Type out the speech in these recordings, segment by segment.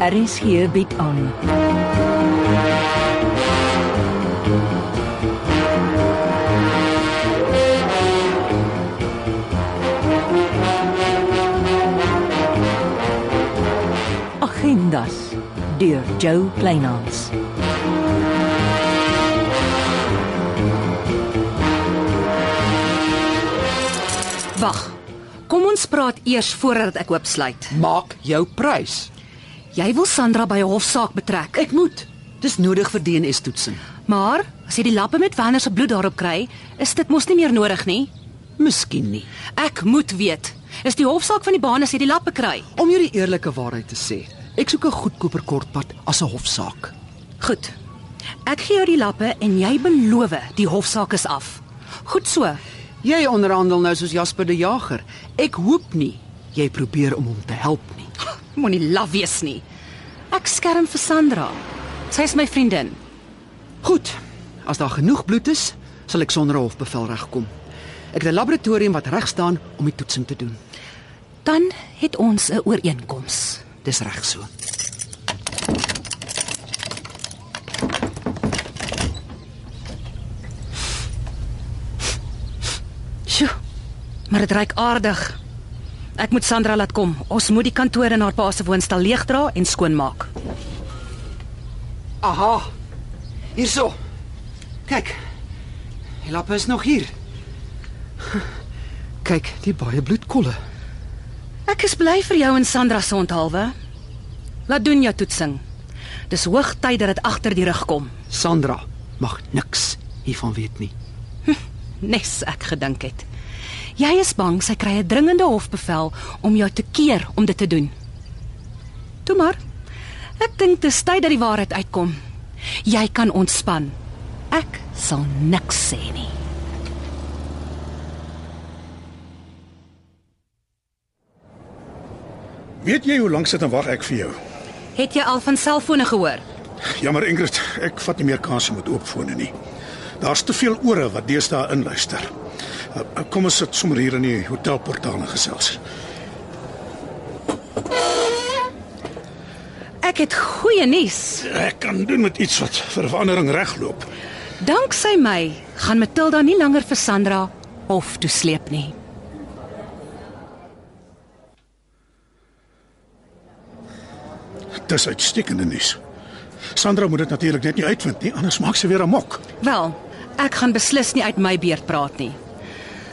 Aris hier bied aan. Agendas deur Jo Kleinhans. Wag. Kom ons praat eers voordat ek oopsluit. Maak jou prys. Jy wil Sandra by 'n hofsaak betrek. Ek moet. Dis nodig vir DNA-toetsing. Maar as jy die lappe met Werner se bloed daarop kry, is dit mos nie meer nodig nie. Miskien nie. Ek moet weet. Is die hofsaak van die baan as jy die lappe kry? Om jou die eerlike waarheid te sê, ek soek 'n goedkoper kortpad as 'n hofsaak. Goed. Ek gee jou die lappe en jy beloof die hofsaak is af. Goed so. Jy onderhandel nou soos Jasper die Jager. Ek hoop nie jy probeer om hom te help nie. Moenie laf wees nie. Ek skerm vir Sandra. Sy is my vriendin. Goed. As daar genoeg bloed is, sal ek sonder 'n hofbevel regkom. Ek het 'n laboratorium wat reg staan om die toetsing te doen. Dan het ons 'n ooreenkoms. Dis reg so. Sjoe. Maar dit reuk aardig. Ek moet Sandra laat kom. Ons moet die kantoor in haar pa se woonstel leegdra en skoonmaak. Aha. Hierso. Kyk. Die lappe is nog hier. Kyk, die baie bloedkolle. Ek is bly vir jou en Sandra se onthaalwe. Laat doen jou toetsing. Dis hoogtyd dat dit agter die rug kom, Sandra mag niks hiervan weet nie. nes ek gedink het. Jy is bang sy kry 'n dringende hofbevel om jou te keer om dit te doen. Toe maar. Ek dink dis tyd dat die waarheid uitkom. Jy kan ontspan. Ek sal niks sê nie. Weet jy hoe lank sit en wag ek vir jou? Het jy al van selfone gehoor? Jammer Ingrid, ek vat nie meer kansse met oopfone nie. Daar's te veel ore wat deesdae inluister. Uh, uh, Kom ons sit sommer hier in die hotelportaal en gesels. Ek het goeie nuus. Ek kan doen met iets wat vir verandering regloop. Danksy my gaan Matilda nie langer vir Sandra hof toe sleep nie. Dis uitstekende nuus. Sandra moet dit natuurlik net nie uitvind nie, anders maak sy weer 'n mok. Wel, ek gaan beslis nie uit my beurt praat nie.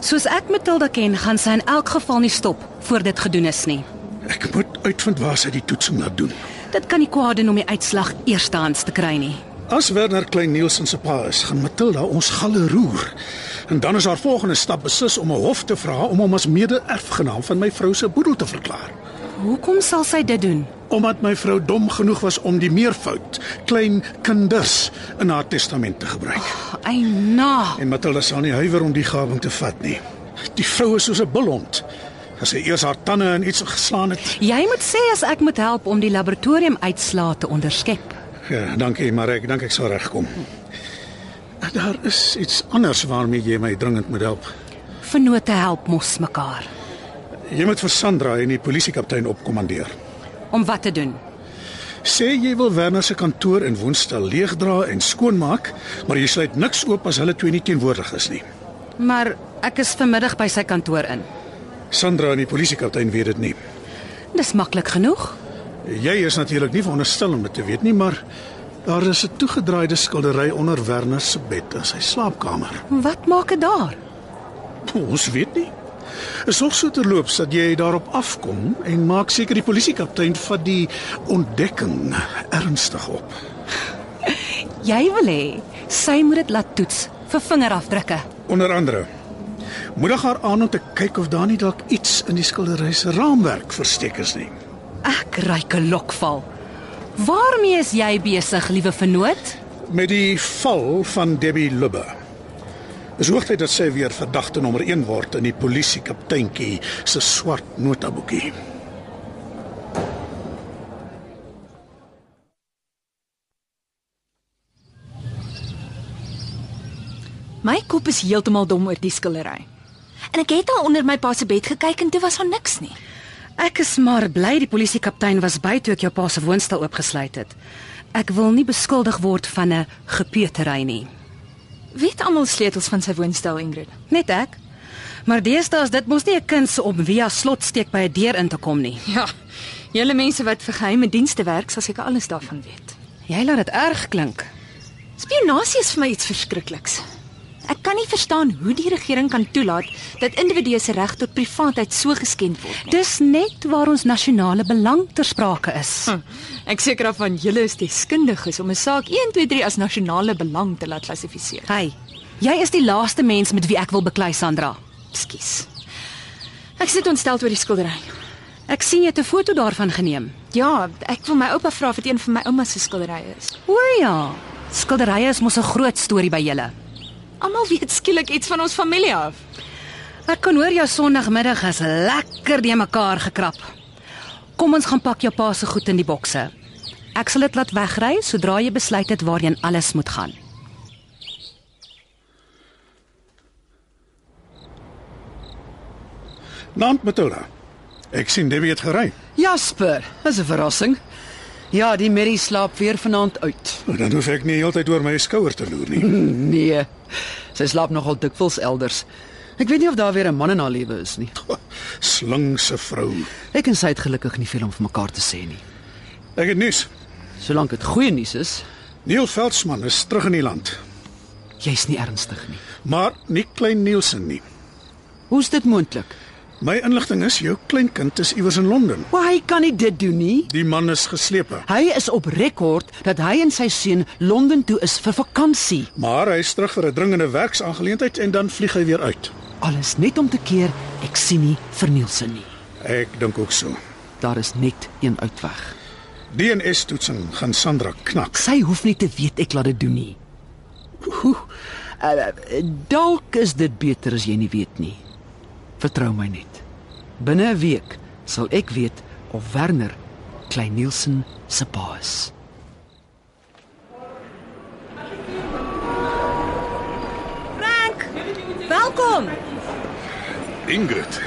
Soos ek Matilda ken, gaan sy in elk geval nie stop voor dit gedoen is nie. Ek moet uitvind waar sy die toetsing laat doen. Dit kan nie kwaad doen om die uitslag eerstehands te kry nie. As Werner Klein Nielsen se pa is, gaan Matilda ons galle roer. En dan is haar volgende stap beslis om 'n hof te vra om hom as mede-erfgenaam van my vrou se boedel te verklaar, Hoekom sal sy dit doen? omdat my vrou dom genoeg was om die meervoud klein kinders in haar testament te gebruik. Ai na. En Matilda sal nie huiwer om die gawing te vat nie. Die vrou is soos 'n bulhond. As sy eers haar tande in iets geslaan het. Jy moet sê as ek moet help om die laboratoriumuitslae te onderskep. Ja, dankie, maar ek dink ek sal regkom. Daar is iets anders waarmee jy my dringend moet help. Vennote help mos mekaar Jy moet vir Sandra en die polisiekaptein opkommandeer. om wat te doen. Sê jy wil Werner se kantoor in Woenstel leegdra en skoonmaak, maar jy sluit niks oop as hulle twee nie teenwoordig is nie. Maar ek is vanmiddag by sy kantoor in. Sandra en die polisiekaptein weet dit nie. Dis maklik genoeg. Jy is natuurlik nie veronderstel om dit te weet nie, maar daar is 'n toegedraaide skildery onder Werner se bed in sy slaapkamer. Wat maak dit daar? Ons weet nie. Sorg so terloops dat jy daarop afkom en maak seker die polisiekaptein vat die ontdekking ernstig op. Jy wil hê sy moet dit laat toets vir vingerafdrukke. Onder andere moedig haar aan om te kyk of daar nie dalk iets in die skildery se raamwerk versteek is nie. Ek ryk 'n lokval. Waarmee is jy besig, liewe vernoot? Met die val van Debbie Lubbe. Is hoogtyd dat sy weer verdagte nommer 1 word in die polisie kapteintjie se swart notaboekie. My kop is heeltemal dom oor die skillery. En ek het daar onder my pa se bed gekyk en toe was daar niks nie. Ek is maar bly die polisiekaptein was by toe ek jou pa se woonstel oopgesluit het. Ek wil nie beskuldig word van 'n gepeutery nie. Wie het almal sleutels van sy woonstel, Ingrid? Net ek. Maar deesdae is dit mos nie 'n kuns om via slot steek by 'n deur in te kom nie. Ja. Julle mense wat vir geheime dienste werk, sal seker alles daarvan weet. Jy laat dit erg klink. Spionasie is vir my iets verskrikliks. Ek kan nie verstaan hoe die regering kan toelaat dat individue se reg tot privaatheid so geskend word nie. Dis net waar ons nasionale belang ter sprake is. Hm, Ek seker af van julle is deskundig is om 'n saak 1 2 3 as nasionale belang te laat klassifiseer. Hey, jy is die laaste mens met wie ek wil beklei, Sandra. Ekskuus. Ek sit ontstel oor die skildery. Ek sien jy het 'n foto daarvan geneem. Ja, ek wil my oupa vra of dit een van my ouma se skilderye is. O ja, skilderye is mos 'n groot storie by julle. Almal weet skielik iets van ons familie af. Ek kon hoor jou Sondagmiddag is lekker die mekaar gekrap. Kom ons gaan pak jou pa se goed in die bokse. Ek sal dit laat wegry sodra jy besluit het waarheen alles moet gaan. Naam Matilda. Ek sien Debbie het gery. Jasper, is 'n verrassing. Ja, die Merrie slaap weer vanaand uit. Oh, Dan hoef ek nie heeltyd oor my skouer te loer nie. Nee. Sy slaap nogal dikwels elders. Ek weet nie of daar weer 'n man in haar lewe is nie. Slinkse vrou. Ek en sy het gelukkig nie veel om vir mekaar te sê nie. Ek het nuus. Solank dit goeie nuus is, Neil Veldsmann is terug in die land, jy's nie ernstig nie. maar nie klein Nielsen nie. Hoe's dit moontlik? My inligting is jou kleinkind is iewers in Londen. Maar hy kan nie dit doen nie. Die man is geslepe, Hy is op rekord dat hy en sy seun Londen toe is vir vakansie. maar hy is terug vir 'n dringende werksaangeleentheid en dan vlieg hy weer uit. Alles net om te keer ek sien nie vir Nielsen nie. Ek dink ook so. Daar is net een uitweg. DNS-toetsing gaan Sandra knak. Sy hoef nie te weet ek laat dit doen nie. Oeh, uh, dalk is dit beter as jy nie weet nie. Vertrou my net. Binne 'n week sal ek weet of Werner Klein Nielsen se pa is. Frank, welkom. Ingrid.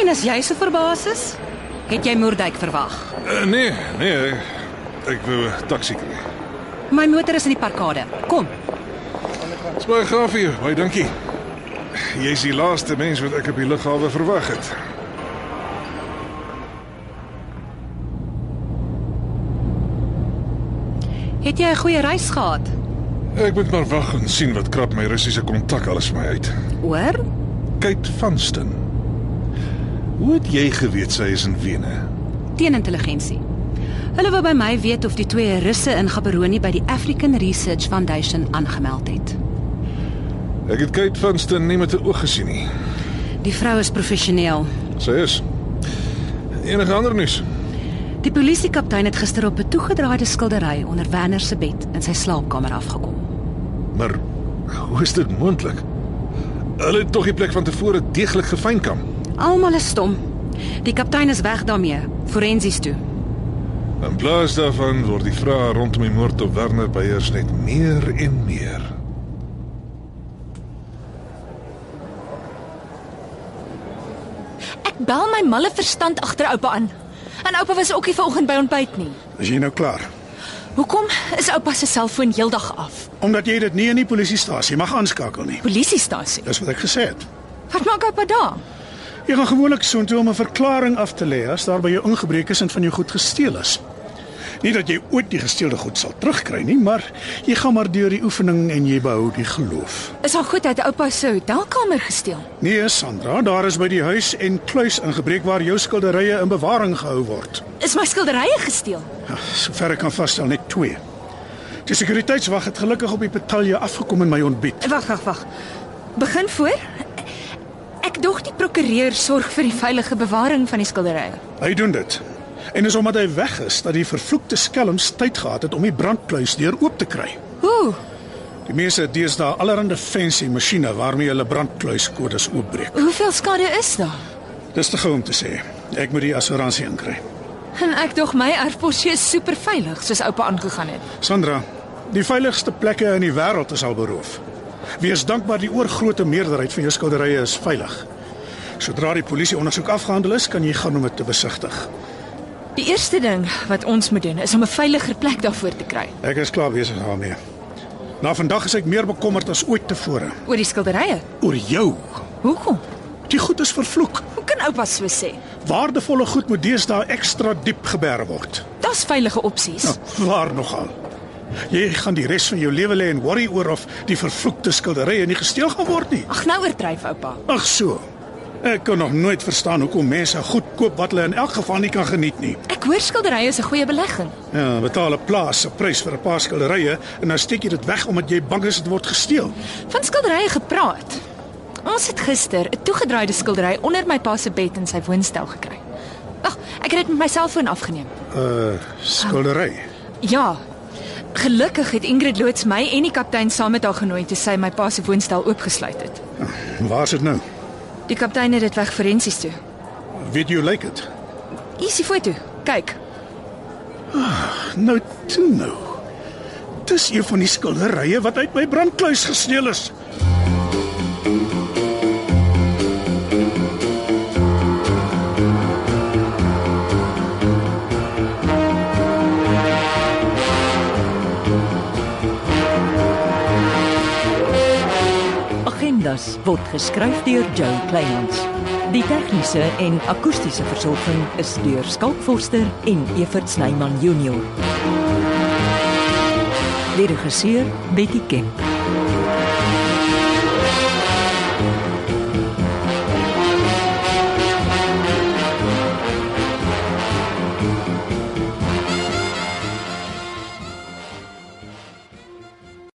En as jy so verbaas is, het jy Moerdijk verwag. Uh, nee, nee. Ek wil 'n taxi kry. My motor is in die parkade. Kom. Dis baie gaaf vir jou. Baie dankie. Jy's die laaste mens wat ek op die lughawe verwag het. Het jy 'n goeie reis gehad? Ek moet maar wag en sien wat krap my Russiese kontak alles vir my uit. Hoor? Kate Vanston. Hoe het jy geweet sy is in Wene? Teen intelligensie. Hulle wou by my weet of die twee Russe in Gaborone by die African Research Foundation aangemeld het. Ek het Kate Vanston nie met 'n oog gesien nie. Die vrou is professioneel. Sy is enige ander nuus. Die polisiekaptein het gister op 'n toegedraaide skildery onder Werner se bed in sy slaapkamer afgekom. Maar hoe is dit moontlik? Hulle het tog die plek van tevore deeglik gefynkam. Almal is stom. Die kaptein is weg daarmee, forensies toe. In plaas daarvan word die vrae rondom die moord op Werner Beyers net meer en meer. Ek bel my malle verstand agter oupa aan. En oupa was ook nie vanoggend by ontbyt nie. Is jy nou klaar? Hoekom is oupa se selfoon heeldag af? Omdat jy dit nie in die polisiestasie mag aanskakel nie. Polisiestasie. Dis wat ek gesê het. Wat maak oupa daar? Jy gaan gewoonlik soontoe om 'n verklaring af te lê as daar by jou ingebreek is en van jou goed gesteel is. Nie dat jy ooit die gesteelde goed sal terugkry nie, maar jy gaan maar deur die oefening en jy behou die geloof. Is haar goed uit oupa se hotelkamer gesteel? Nee, Sandra, daar is by die huis en kluis ingebreek waar jou skilderye in bewaring gehou word. Is my skilderye gesteel? Ag, Sover ek kan vasstel, net twee. Die sekuriteitswag het gelukkig op die betalje afgekom in my ontbyt. Wag, wag, wag. Begin voor. Ek dog die prokureur sorg vir die veilige bewaring van die skilderye. Hy doen dit. En is omdat hy weg is dat die vervloekte skelms tyd gehad het om die brandkluis deur oop te kry. Hoe? Die mense het deesdae allerlei fancy masjiene waarmee hulle brandkluiskodes oopbreek. Hoeveel skade is daar? Dis te gou om te sê. Ek moet die assuransie inkry. En ek dog my erfposie is super veilig soos oupa aangegaan het. Sandra, die veiligste plekke in die wêreld is al beroof. Wees dankbaar die oorgrootste meerderheid van jou skilderye is veilig. Sodra die polisie ondersoek afgehandel is, kan jy gaan om dit te besigtig. Die eerste ding wat ons moet doen is om 'n veiliger plek daarvoor te kry. Ek is klaar besig daarmee. Na vandag is ek meer bekommerd as ooit tevore Oor die skilderye. oor jou. Hoekom? Die goed is vervloek. Hoe kan oupa so sê? Waardevolle goed moet deesdae ekstra diep geberg word. Daar's veilige opsies. Nou, waar nogal. Jy gaan die res van jou lewe lê en worry oor of die vervloekte skilderye nie gesteel gaan word nie. Ag nou oordryf oupa. Ag so. Ek kan nog nooit verstaan hoekom mense goed koop wat hulle in elk geval nie kan geniet nie. Ek hoor skilderye is 'n goeie belegging. Ja, betaal 'n plaas se prys vir 'n paar skilderye en dan steek jy dit weg omdat jy bang is dit word gesteel. Van skilderye gepraat. Ons het gister 'n toegedraaide skildery onder my pa se bed in sy woonstel gekry. Ag, ek het dit met my selfoon afgeneem. Uh, skildery. Ja. Gelukkig het Ingrid loods my en die kaptein saam met haar genooi toe sy my pa se woonstel oopgesluit het. Waar's dit nou? Die kaptein het dit weg forensies toe. Weet jy hoe lyk dit? Hier is die foto. Kyk. Nou toe nou. Dis een van die skilderye wat uit my brandkluis gesteel is. Agendas word geskryf deur Joe Kleinhans. Die tegniese en akoestiese versorging is deur Skalk Forster en Evert Snyman Junior. Die regisseur Betty Kemp.